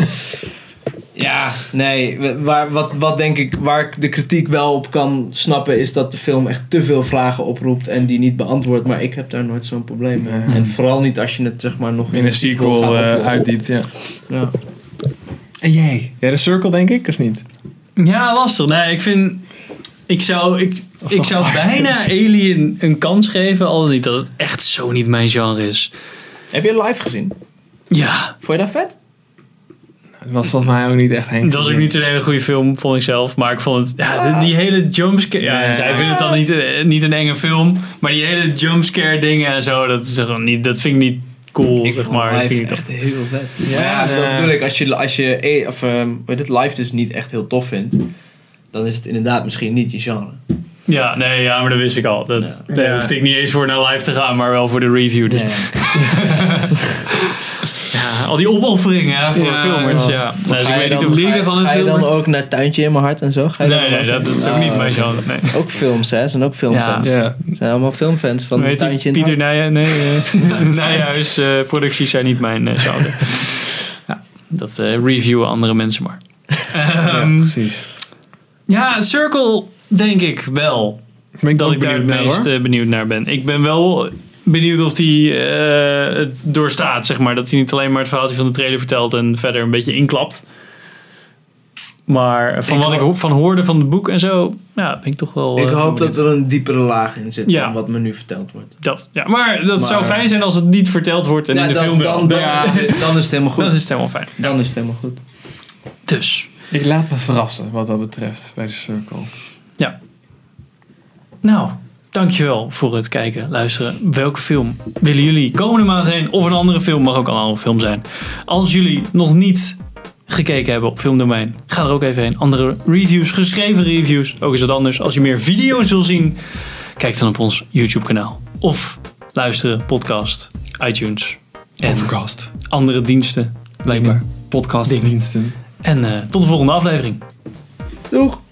[SPEAKER 3] ja, nee, we- waar, wat, wat denk ik, waar ik de kritiek wel op kan snappen, is dat de film echt te veel vragen oproept en die niet beantwoordt. Maar ik heb daar nooit zo'n probleem mee.
[SPEAKER 2] Nee.
[SPEAKER 3] En vooral niet als je het zeg maar nog
[SPEAKER 2] In een sequel
[SPEAKER 3] gaat
[SPEAKER 2] eh,
[SPEAKER 3] oplossen.
[SPEAKER 2] uitdiept, ja.
[SPEAKER 3] Ja.
[SPEAKER 2] En jij? Ja, de Circle denk ik, of niet?
[SPEAKER 1] Ja, lastig. Nee, ik vind... Ik zou, ik,
[SPEAKER 2] Of
[SPEAKER 1] ik
[SPEAKER 2] toch
[SPEAKER 1] zou
[SPEAKER 2] Pirates?
[SPEAKER 1] bijna Alien een kans geven, al dan niet dat het echt zo niet mijn genre is.
[SPEAKER 3] Heb je live gezien?
[SPEAKER 1] Ja,
[SPEAKER 3] Vond je dat vet?
[SPEAKER 2] Dat was volgens mij ook niet echt Henk.
[SPEAKER 1] Dat was ook niet zo'n hele goede film, vond ik zelf. Maar ik vond het, ja, die, die hele jumpscare... Ja,
[SPEAKER 2] Nee.
[SPEAKER 1] zij vinden het dan niet, eh, niet een enge film. Maar die hele jumpscare dingen en zo, dat, is gewoon niet, dat vind ik niet cool, zeg maar. Dat vind ik toch-
[SPEAKER 3] echt heel vet. Ja,
[SPEAKER 2] Ja,
[SPEAKER 3] dat
[SPEAKER 2] eh.
[SPEAKER 3] bedoel ik. Als je, als je eh, of, ehm, hoe heet het live dus niet echt heel tof vindt, dan is het inderdaad misschien niet je genre.
[SPEAKER 1] Ja, nee, ja, maar dat wist ik al. Dat,
[SPEAKER 2] Ja.
[SPEAKER 1] Daar
[SPEAKER 2] Ja.
[SPEAKER 1] dus hoefde ik niet eens voor naar live te gaan, maar wel voor de review. Dus.
[SPEAKER 3] Nee.
[SPEAKER 1] Ja, Ja, al die opofferingen hè, voor
[SPEAKER 2] Ja,
[SPEAKER 1] filmers.
[SPEAKER 3] ja.
[SPEAKER 1] Ja. Nee, dus ik
[SPEAKER 3] Ga je
[SPEAKER 1] weet
[SPEAKER 3] dan-
[SPEAKER 1] niet of
[SPEAKER 2] liefde van een
[SPEAKER 3] Ga je dan
[SPEAKER 2] filmer-
[SPEAKER 3] ook naar Tuintje in mijn hart en zo? Ga je
[SPEAKER 1] Nee, Ah.
[SPEAKER 3] dan
[SPEAKER 1] nee, dat, dat is ook niet mijn genre. Nee.
[SPEAKER 3] Ook films, hè? Zijn ook filmfans.
[SPEAKER 2] Ja.
[SPEAKER 3] Zijn allemaal filmfans van
[SPEAKER 1] Hoe heet die?
[SPEAKER 3] Tuintje in het
[SPEAKER 1] Pieter
[SPEAKER 3] hart.
[SPEAKER 1] Nij nee, eh, Nijhuis eh, producties zijn niet mijn eh, genre. ja, dat eh, reviewen andere mensen maar. Ehm, ja.
[SPEAKER 2] precies.
[SPEAKER 1] Circle denk ik wel.
[SPEAKER 2] Ben ik
[SPEAKER 1] dat
[SPEAKER 2] ook
[SPEAKER 1] ik daar
[SPEAKER 2] benieuwd
[SPEAKER 1] het
[SPEAKER 2] naar
[SPEAKER 1] meest
[SPEAKER 2] hoor.
[SPEAKER 1] eh, benieuwd naar ben. Ik ben wel benieuwd of die eh, het doorstaat, zeg maar. Dat hij niet alleen maar het verhaaltje van de trailer vertelt en verder een beetje inklapt. Maar van
[SPEAKER 3] Ik
[SPEAKER 1] wat ik
[SPEAKER 3] hoop-
[SPEAKER 1] ho- van hoorde van het boek en zo, ja, ben ik toch wel.
[SPEAKER 3] Ik
[SPEAKER 1] eh,
[SPEAKER 3] hoop
[SPEAKER 1] benieuwd.
[SPEAKER 3] dat er een diepere laag in zit
[SPEAKER 1] Ja.
[SPEAKER 3] dan wat me nu verteld wordt.
[SPEAKER 1] Dat, ja, maar dat
[SPEAKER 3] Maar-
[SPEAKER 1] zou fijn zijn als het niet verteld wordt en
[SPEAKER 3] Ja,
[SPEAKER 1] in de
[SPEAKER 3] dan,
[SPEAKER 1] film wel.
[SPEAKER 3] dan, dan,
[SPEAKER 2] Ja.
[SPEAKER 3] is het, dan is het helemaal goed.
[SPEAKER 1] Dat is het helemaal fijn.
[SPEAKER 3] dan is het helemaal goed.
[SPEAKER 1] Dus.
[SPEAKER 2] Ik laat me verrassen wat dat betreft bij de Circle.
[SPEAKER 1] Nou, dankjewel voor het kijken, luisteren. Welke film willen jullie komende maand heen? Of een andere film, mag ook een andere film zijn. Als jullie nog niet gekeken hebben op filmdomein, ga er ook even heen. Andere reviews, geschreven reviews, ook is het anders. Als je meer video's wil zien, kijk dan op ons YouTube kanaal. Of luisteren, podcast, iTunes en
[SPEAKER 2] Overcast.
[SPEAKER 1] andere diensten, blijkbaar.
[SPEAKER 2] Podcastdiensten.
[SPEAKER 1] En eh, tot de volgende aflevering.
[SPEAKER 3] Doeg!